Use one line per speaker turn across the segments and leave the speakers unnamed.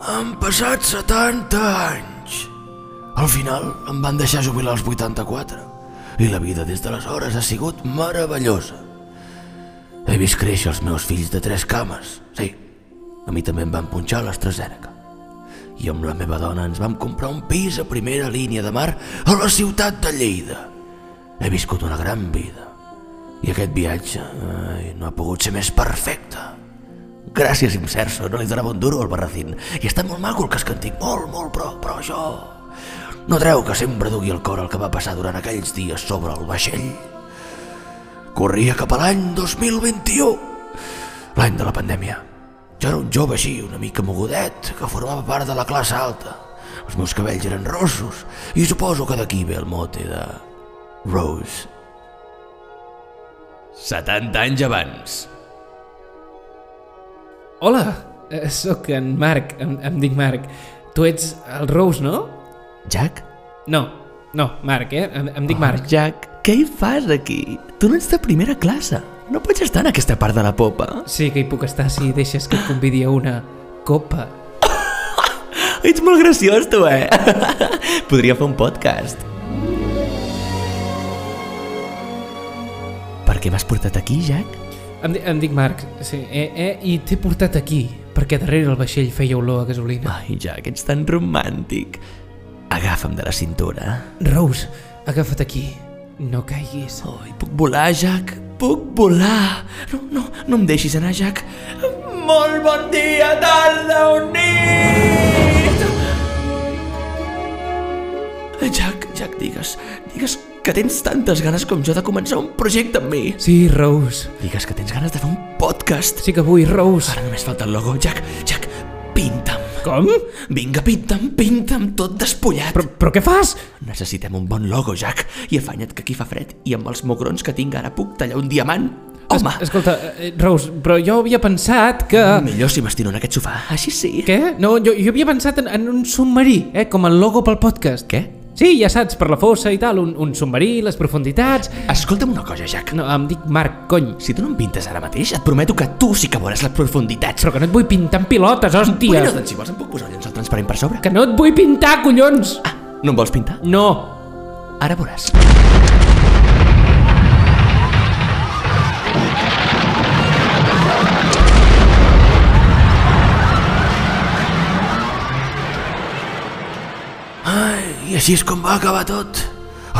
Han passat 70 anys. Al final em van deixar jubilar als 84 i la vida des d'aleshores ha sigut meravellosa. He vist créixer els meus fills de tres cames, sí. A mi també em van punxar l'AstraZeneca. I amb la meva dona ens vam comprar un pis a primera línia de mar a la ciutat de Lleida. He viscut una gran vida. I aquest viatge ai, no ha pogut ser més perfecte. Gràcies, Imserso, no li donava un duro al barracín. I està molt maco el cascantic, molt, molt, però, però això... No treu que sempre dugui el cor el que va passar durant aquells dies sobre el vaixell. Corria cap a l'any 2021, l'any de la pandèmia. Jo era un jove així, una mica mogudet, que formava part de la classe alta. Els meus cabells eren rossos i suposo que d'aquí ve el mote de Rose.
70 anys abans.
Hola, eh, sóc en Marc, em, em dic Marc. Tu ets el Rose, no?
Jack?
No, no, Marc, eh? Em, em dic Marc.
Jack, què hi fas aquí? Tu no ets de primera classe. No pots estar en aquesta part de la popa.
Sí que hi puc estar si deixes que et convidi a una copa.
Ets molt graciós, tu, eh? Podria fer un podcast. Per què m'has portat aquí, Jack?
Em, di- em dic Marc, sí, eh, eh? I t'he portat aquí, perquè darrere el vaixell feia olor a gasolina.
Ai, Jack, ets tan romàntic. Agafa'm de la cintura.
Rose, agafa't aquí. No caiguis.
Ai, puc volar, Jack? Puc volar! No, no, no em deixis anar, Jack. Molt bon dia, tarda o nit! Eh, Jack, Jack, digues, digues que tens tantes ganes com jo de començar un projecte amb mi.
Sí, Rose.
Digues que tens ganes de fer un podcast.
Sí que vull, Rose.
Ara només falta el logo. Jack, Jack, pinta'm.
Com?
Vinga, pinta'm, pinta'm, tot despullat.
Però, però què fas?
Necessitem un bon logo, Jack, i afanya't que aquí fa fred i amb els mogrons que tinc ara puc tallar un diamant. Home, es,
Escolta, eh, Rose, però jo havia pensat que...
es... millor si m'estiro en aquest sofà, així sí.
Ah. Què? No, jo, jo havia pensat en, en un submarí, eh, com el logo pel podcast.
Què?
Sí, ja saps, per la fossa i tal, un, un submarí, les profunditats...
Escolta'm una cosa, Jack.
No, em dic Marc, cony.
Si tu no em pintes ara mateix, et prometo que tu sí que veuràs les profunditats.
Però que no et vull pintar amb pilotes, hòstia!
Bueno, doncs si vols em puc posar el llençol transparent per sobre.
Que no et vull pintar, collons!
Ah, no em vols pintar?
No!
Ara veuràs. Ai, i així és com va acabar tot.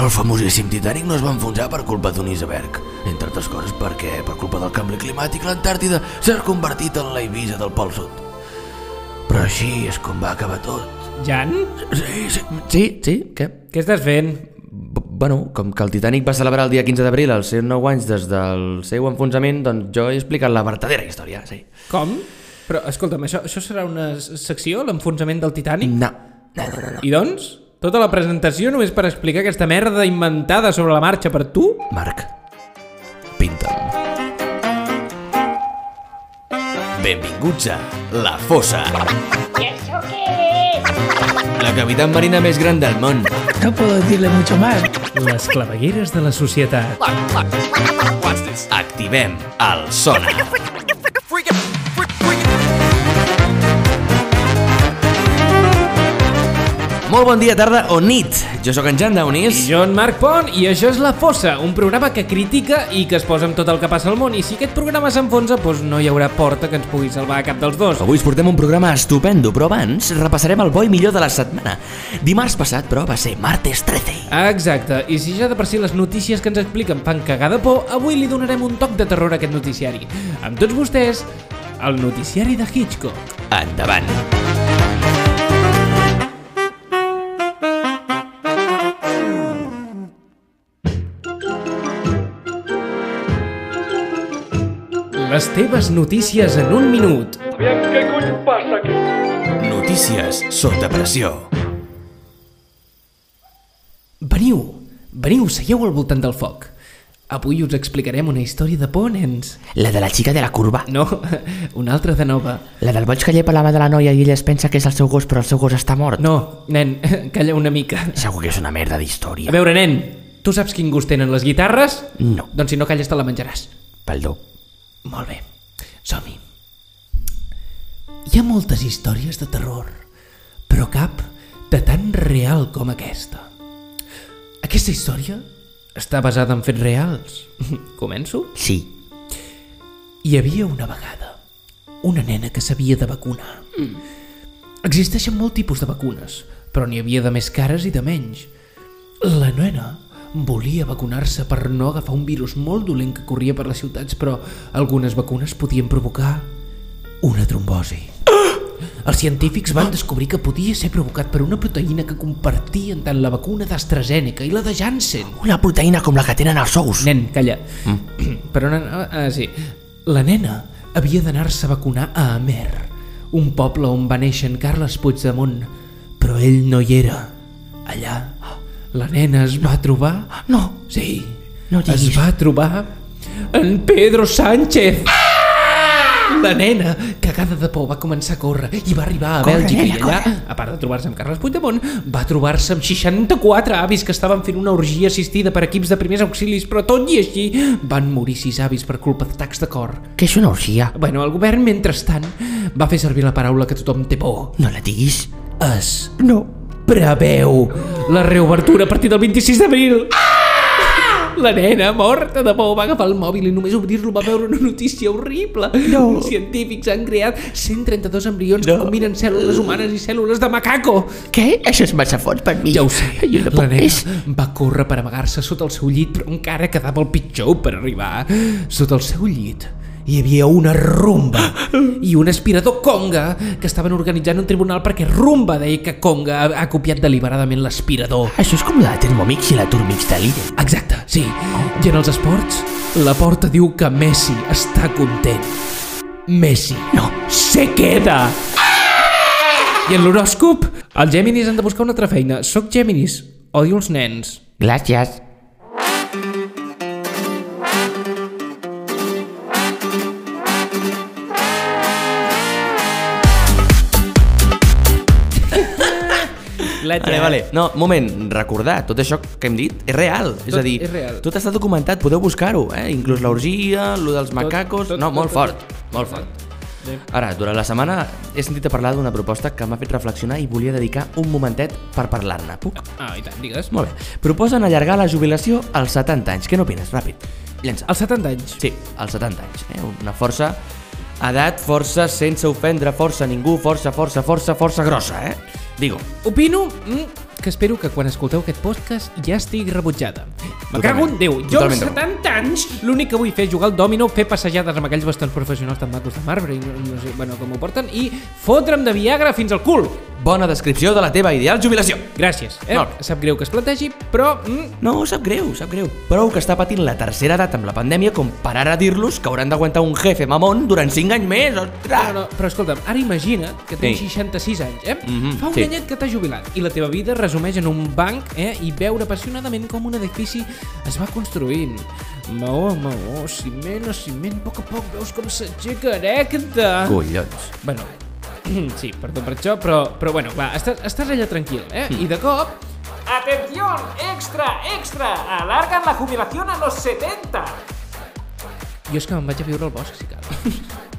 El famosíssim Titanic no es va enfonsar per culpa d'un iceberg, entre altres coses perquè, per culpa del canvi climàtic, l'Antàrtida s'ha convertit en la Ibiza del Pol Sud. Però així és com va acabar tot.
Jan?
Sí, sí, sí, sí què?
Què estàs fent?
B bueno, com que el Titanic va celebrar el dia 15 d'abril els seus 9 anys des del seu enfonsament, doncs jo he explicat la verdadera història, sí.
Com? Però, escolta'm, això, això serà una s- secció, l'enfonsament del Titanic?
No.
I doncs? Tota la presentació només per explicar aquesta merda inventada sobre la marxa per tu?
Marc, pinta'm.
Benvinguts a La Fossa,
¿Y eso qué es?
la cavitat marina més gran del món.
No puedo decirle mucho más.
Les clavegueres de la societat.
Activem el sonar. Molt bon dia, tarda o nit. Jo sóc en Jan Daunís.
Jo en Marc Pont i això és La Fossa, un programa que critica i que es posa amb tot el que passa al món i si aquest programa s'enfonsa, doncs no hi haurà porta que ens pugui salvar a cap dels dos.
Avui us portem un programa estupendo, però abans repassarem el bo i millor de la setmana. Dimarts passat, però, va ser martes 13.
Exacte, i si ja de per si les notícies que ens expliquen fan cagar de por, avui li donarem un toc de terror a aquest noticiari. Amb tots vostès, el noticiari de Hitchcock.
Endavant.
Les teves notícies en un minut.
Notícies sota pressió.
Veniu, veniu, seieu al voltant del foc. Avui us explicarem una història de por, nens.
La de la xica de la curva.
No, una altra de nova.
La del boig que llepa la mà de la noia i ella es pensa que és el seu gos, però el seu gos està mort.
No, nen, calla una mica.
Segur que és una merda
A
d'història.
veure, nen, tu saps quin gust tenen les guitarres?
No.
Doncs si no calles te la menjaràs.
Perdó.
Molt bé, som-hi. Hi ha moltes històries de terror, però cap de tan real com aquesta. Aquesta història està basada en fets reals. Començo?
Sí.
Hi havia una vegada una nena que s'havia de vacunar. Existeixen molt tipus de vacunes, però n'hi havia de més cares i de menys. La nena volia vacunar-se per no agafar un virus molt dolent que corria per les ciutats, però algunes vacunes podien provocar una trombosi. Els científics van descobrir que podia ser provocat per una proteïna que compartien tant la vacuna d'AstraZeneca i la de Janssen.
Una proteïna com la que tenen els ous.
Nen, calla. Mm. Però no, no, ah, sí. La nena havia d'anar-se a vacunar a Amer, un poble on va néixer en Carles Puigdemont, però ell no hi era. Allà, la nena es va trobar...
No.
Sí,
No diguis.
es va trobar en Pedro Sánchez. La nena, cagada de por, va començar a córrer i va arribar a
Corre,
Bèlgica
nena,
i allà, a part de trobar-se amb Carles Puigdemont, va trobar-se amb 64 avis que estaven fent una orgia assistida per equips de primers auxilis, però tot i així van morir sis avis per culpa d'atacs de cor.
Que és una orgia.
Bueno, el govern, mentrestant, va fer servir la paraula que tothom té por.
No la diguis.
Es... No. Preveu la reobertura a partir del 26 d'abril. Ah! La nena, morta de por, va agafar el mòbil i només obrir-lo va veure una notícia horrible. No. Uns científics han creat 132 embrions no. que combinen cèl·lules humanes i cèl·lules de macaco.
Què? Això és massa fort per mi.
Ja ho sé.
Jo no
la
puc
nena
més.
va córrer per amagar-se sota el seu llit, però encara quedava el pitjor per arribar. Sota el seu llit hi havia una rumba i un aspirador conga que estaven organitzant un tribunal perquè rumba deia que conga ha, ha copiat deliberadament l'aspirador.
Això és com la Thermomix i la Turmix de líder.
Exacte, sí. I en els esports, la porta diu que Messi està content. Messi no se queda. I en l'horòscop, els Géminis han de buscar una altra feina. Soc Géminis, odio els nens.
Gràcies.
Vale,
eh?
vale. No, moment, recordar, tot això que hem dit és real. és
Tot
a dir,
és real.
tot està documentat, podeu buscar-ho, eh? Inclús l'orgia, lo dels macacos...
tot,
no,
tot,
molt
tot,
fort, molt fort. Ara, durant la setmana he sentit a parlar d'una proposta que m'ha fet reflexionar i volia dedicar un momentet per parlar-ne. Puc?
Ah, i tant, digues.
Molt bé. Proposen allargar la jubilació als 70 anys. Què n'opines? Ràpid. Llença. Ah,
Als 70 anys.
Sí, als 70 anys. Eh? Una força... Edat, força, sense ofendre, força, ningú, força, força, força, força grossa, eh? Digo,
Opino mm, que espero que quan escolteu aquest podcast ja estigui rebutjada. Me
Totalment.
cago en Déu. Jo als
Totalment d'acord.
70 anys l'únic que vull fer és jugar al dòmino, fer passejades amb aquells bastants professionals tan macos de marbre i no, no sé bueno, com ho porten, i fotre'm de Viagra fins al cul.
bona descripció de la teva ideal jubilació.
Gràcies. Eh?
Molt bé.
Sap greu que es plantegi, però... Mm,
No, sap greu, sap greu. Prou que està patint la tercera edat amb la pandèmia com per ara dir-los que hauran d'aguantar un jefe mamón durant 5 anys més,
no,
ostres!
no, però escolta'm, ara imagina't que tens
Sí.
66 anys, eh?
Mhm,
Fa un
sí.
anyet que t'has jubilat i la teva vida es resumeix en un banc eh? i veure apassionadament com un edifici es va construint. Maó a maó, ciment a ciment, a poc a poc veus com s'aixeca erecta.
Collons.
Bueno, sí, perdó per això, però, però bueno, clar, estàs, estàs allà tranquil, eh?
Mm.
I de cop... Atención, extra, extra, alargan la jubilación a los 70. Jo és que me'n vaig a viure al bosc, si cal.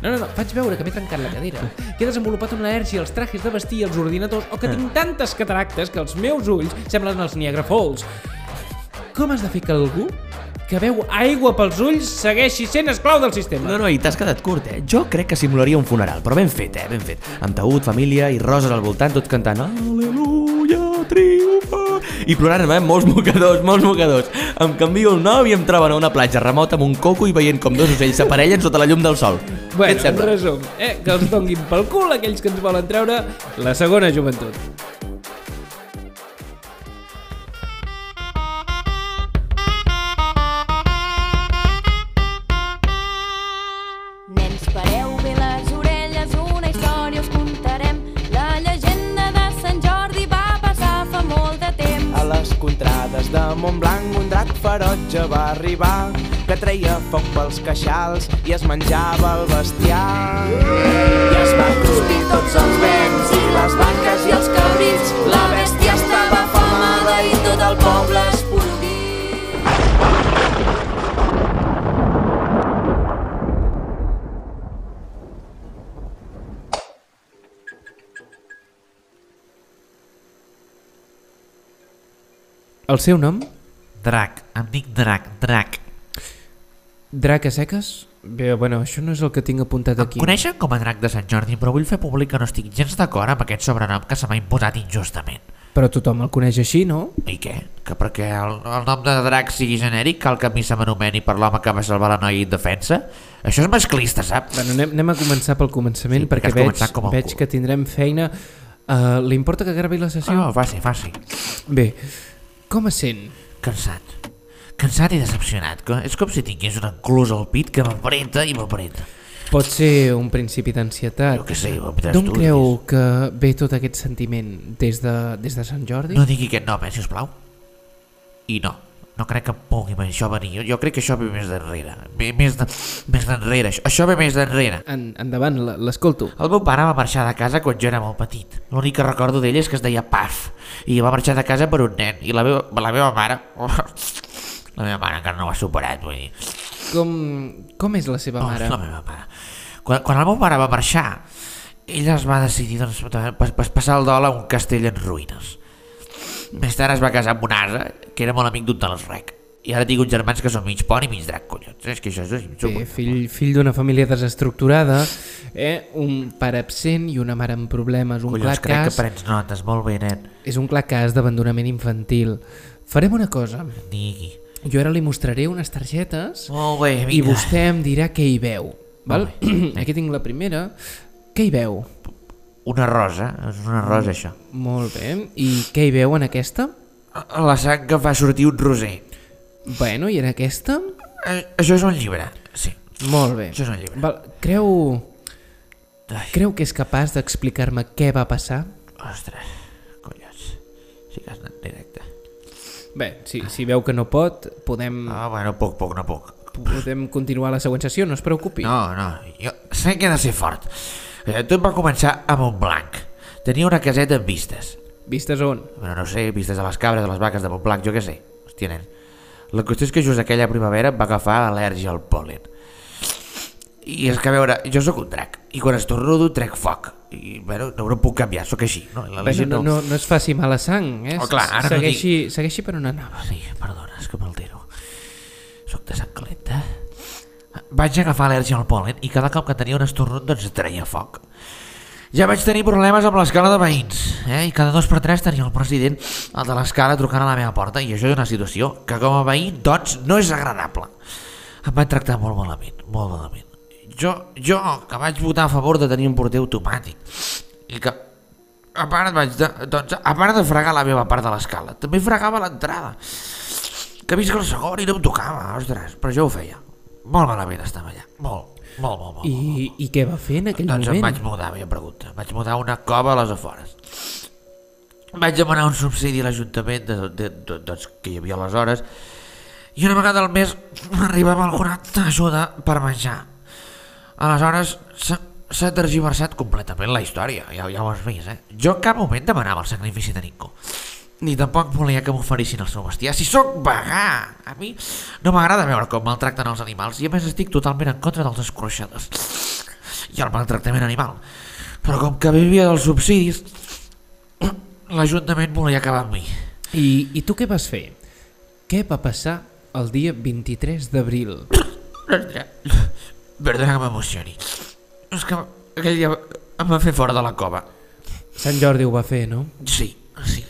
No, no, no, faig veure que m'he trencat la cadera, que he desenvolupat una al·lèrgia als trajes de vestir, als ordinadors, o que
Ah.
tinc tantes cataractes que els meus ulls semblen els Niagara Falls. Com has de fer que algú que veu aigua pels ulls segueixi sent esclau del sistema?
No, no, i t'has quedat curt, eh? Jo crec que simularia un funeral, però ben fet, eh? Ben fet. Amb taüt, família i roses al voltant, tots cantant Aleluia, triomfa! I plorant, eh? Molts mocadors, molts mocadors. Em canvio el nom i em troben a una platja remota amb un coco i veient com dos ocells s'aparellen sota la llum del sol. Què
Bueno,
et
en
sembla?
resum, eh, que els donguin pel cul aquells que ens volen treure la segona joventut.
Nens, pareu bé les orelles, una història us contarem. La llegenda de Sant Jordi va passar fa molt de temps.
A les contrades de Montblanc un drac ferotge va arribar que treia foc pels queixals i es menjava el bestiar.
I es van cruspir tots els vents i les vaques i els cabrits. La bèstia estava famada i tot el poble es porguí.
El seu nom?
Drac, em dic Drac, Drac.
Drac a seques? Bé, bueno, això no és el que tinc apuntat
Em
aquí.
coneixen com a Drac de Sant Jordi, però vull fer públic que no estic gens d'acord amb aquest sobrenom que se m'ha imposat injustament.
Però tothom el coneix així, no?
I què? Que perquè el, el nom de Drac sigui genèric cal que a mi se m'anomeni per l'home que va salvar la noia indefensa? Això és masclista, saps?
Bueno, anem, anem a començar pel començament
Sí,
sí, perquè
perquè has
veig,
començat com el
veig
cul.
que tindrem feina. Uh, li importa que gravi la sessió?
Oh, faci, faci.
Bé, com es sent?
Cansat. Cansat i decepcionat. Co- És com si tingués un enclús al pit que m'apreta i m'apreta.
Pot ser un principi d'ansietat.
Jo què sé, jo em
D'on
t'estudis.
creu que ve tot aquest sentiment? Des de, des de Sant Jordi?
No digui aquest nom, eh, sisplau. I no, no crec que em pugui això venir. Jo, jo crec que això ve més d'enrere. Ve més de- més d'enrere, això, això ve més d'enrere.
En, endavant, l- l'escolto.
El meu pare va marxar de casa quan jo era molt petit. L'únic que recordo d'ell és que es deia Paf, i va marxar de casa per un nen, i la meva, la meva mare... oh, la meva mare encara no ho ha superat, vull dir...
Com, com és la seva
Oh,
mare?
La meva mare. Quan, quan el meu pare va marxar, ella es va decidir doncs, pas, pas, passar el dol a un castell en ruïnes. Més tard es va casar amb un ase, que era molt amic d'un dels rec. I ara tinc uns germans que són mig pont i mig drac, collons. És que això és...
Bé, fill, fill d'una família desestructurada, eh? un pare absent i una mare amb problemes, un
collons,
clar
crec que
cas,
prens notes, molt bé, nen.
és un clar cas d'abandonament infantil. Farem una cosa,
Digui.
jo ara li mostraré unes targetes
Molt bé,
i
Oh, vinga.
vostè em dirà què hi veu. Val?
Molt
Aquí tinc la primera. Què hi veu?
Una rosa, és una rosa, això.
Molt bé. I què hi veu en aquesta?
La sang que fa sortir un roser.
Bueno, i en aquesta?
Eh, Això és un llibre, sí.
Molt bé.
Això és un llibre.
Val, creu...
Ai.
Creu que és capaç d'explicar-me què va passar?
Ostres, collons. Sí que has anat directe.
Bé, si, si veu que no pot, podem,
Ah, bueno, poc, poc, no poc.
podem continuar la següent sessió, no es preocupi.
No, no, jo sé que he de ser fort. Eh, Tot va començar a Montblanc. Tenia una caseta amb vistes.
Vistes on?
Bueno, no sé, vistes de les cabres, de les vaques de Montblanc, jo què sé. Hòstia, nen. La qüestió és que just aquella primavera em va agafar al·lèrgia al pol·len. I és que, a veure, jo sóc un drac, i quan estornudo trec foc. I, bueno, no, no puc canviar, sóc així. No, la, la
Bé,
gent
no, no, no es faci mala sang, eh?
Oh, clar, ara no
segueixi, no segueixi per on anava.
Sí, perdona, és que m'altero. Soc de sang calenta. Vaig agafar al·lèrgia al pol·len i cada cop que tenia un estornut doncs treia foc. Ja vaig tenir problemes amb l'escala de veïns, eh? i cada dos per tres tenia el president el de l'escala trucant a la meva porta, i això és una situació que com a veí, doncs, no és agradable. Em van tractar molt malament, molt malament. Jo, jo, que vaig votar a favor de tenir un porter automàtic, i que a part, vaig de, doncs, a part de fregar la meva part de l'escala, també fregava l'entrada. Que visca el segon i no em tocava, ostres, però jo ho feia. Molt malament estava allà, molt, molt, molt, molt. molt.
I, I què va fer en aquell
doncs em
moment?
vaig mudar, ja pregunta. Vaig mudar a una cova a les afores. Vaig demanar un subsidi a l'Ajuntament de, de, de, doncs, que hi havia aleshores i una vegada al mes arribava alguna ajuda per menjar. Aleshores s'ha- s'ha tergiversat completament la història, ja, ja ho has vist, eh? Jo en cap moment demanava el sacrifici de ningú. Ni tampoc volia que m'oferissin el seu bestiar. Si sóc vegà! A mi no m'agrada veure com maltracten els animals i a més estic totalment en contra dels escorxadors i el maltractament animal. Però com que vivia dels subsidis, l'Ajuntament volia acabar amb mi.
I, I tu què vas fer? Què va passar el dia 23 d'abril?
Perdona que m'emocioni. És que aquell dia em va fer fora de la cova.
Sant Jordi ho va fer, no?
Sí, sí,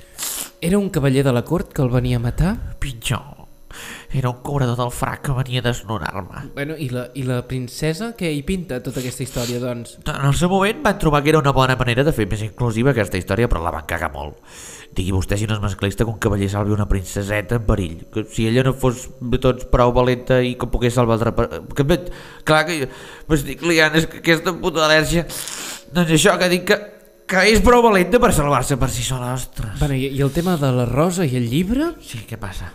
Era un cavaller de la cort que el venia a matar?
pitjor. Era un cobrador del frac que venia a desnonar-me.
Bueno, i la, i la princesa què hi pinta tota aquesta història, doncs?
En el seu moment van trobar que era una bona manera de fer més inclusiva aquesta història, però la van cagar molt. Digui vostè si no és masclista que un cavaller salvi una princeseta en perill. Que si ella no fos de tots prou valenta i que pogués salvar altra... per- Que, bé, clar que jo m'estic liant, és que aquesta puta al·lèrgia... Doncs això, que dic que, que és prou valenta per salvar-se per si sola, ostres.
Bueno, i, i el tema de la rosa i el llibre?
Sí, què passa?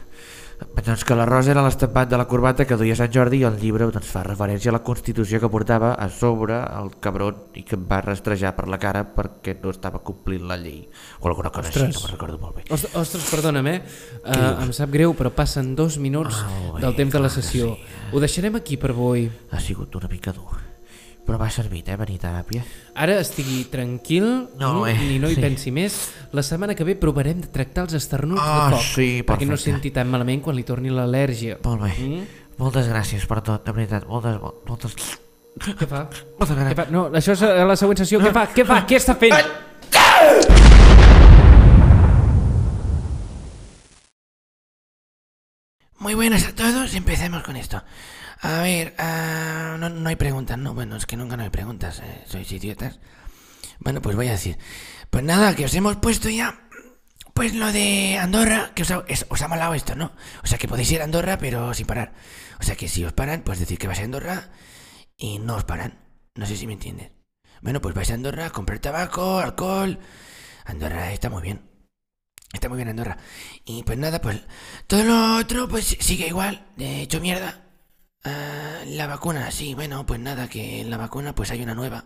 Doncs que la rosa era l'estampat de la corbata que duia Sant Jordi i el llibre doncs, fa referència a la Constitució que portava a sobre el cabron i que em va rastrejar per la cara perquè no estava complint la llei o alguna cosa Ostres. així, no me'n recordo molt bé.
Ostres, ostres perdona'm, eh? Uh, em sap greu, però passen dos minuts
Ah, molt bé,
del temps de la
clar que
sessió.
sí.
Ho deixarem aquí per avui.
Ha sigut una mica dur.
Però m'ha servit, eh, venir a teràpia.
Ara estigui tranquil,
No,
ni,
eh,
ni no hi
sí.
pensi més. La setmana que ve provarem de tractar els esternuts
Ah,
de foc,
sí,
perquè no
perfecte.
senti tan malament quan li torni l'al·lèrgia.
Molt bé. Moltes gràcies per tot, de veritat. Moltes, mol- moltes...
Què fa?
Moltes
Què
gràcies.
fa? No, això és eh, la següent sessió. Què fa? Què fa? Què està fent?
Muy buenas a todos, empecemos con esto. A ver, ah, no, no hay preguntas, no, bueno, es que nunca no hay preguntas, eh, sois idiotas. Bueno, pues voy a decir. Pues nada, que os hemos puesto ya, pues lo de Andorra, que os ha, es- os ha molado esto, ¿no? O sea, que podéis ir a Andorra, pero sin parar. O sea, que si os paran, pues decir que vais a Andorra y no os paran. No sé si me entiendes. Bueno, pues vais a Andorra a comprar tabaco, alcohol. Andorra está muy bien. Está muy bien Andorra. Y pues nada, pues todo lo otro pues sigue igual. De hecho, mierda. Ah, la vacuna, sí, bueno, pues nada, que en la vacuna pues hay una nueva.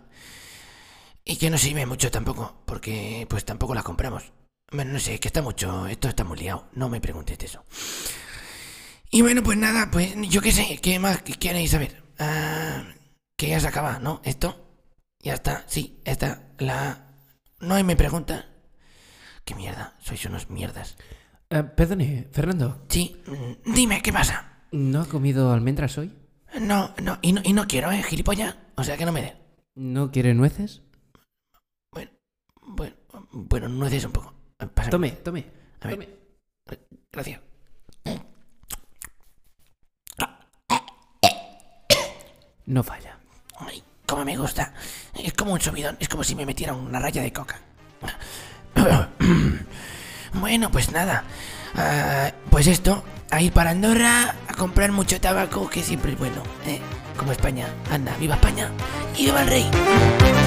Y que no sirve mucho tampoco, porque pues tampoco la compramos. Bueno, no sé, que está mucho, esto está muy liado, no me preguntes eso. Y bueno, pues nada, pues yo qué sé, ¿qué más que queréis saber? Ah, que ya se acaba, ¿no? Esto. Ya está, sí, ya está. La... No hay me pregunta. Qué mierda, sois unos mierdas.
Eh, perdone, Fernando,
Sí, mm, dime, ¿qué pasa?
¿no ha comido almendras hoy?
No, no, y no, y no quiero, ¿eh? Gilipollas. O sea, que no me dé.
¿No quiere nueces?
Bueno, bueno, bueno, no es un poco. Pásame.
Tome, tome,
A ver.
tome.
Gracias.
No falla.
Ay, cómo me gusta. Es como un subidón, es como si me metiera una raya de coca. Bueno, pues nada. Ah, pues esto, a ir para Andorra, a comprar mucho tabaco, que siempre es bueno. ¿eh? Como España. Anda, viva España y viva el rey.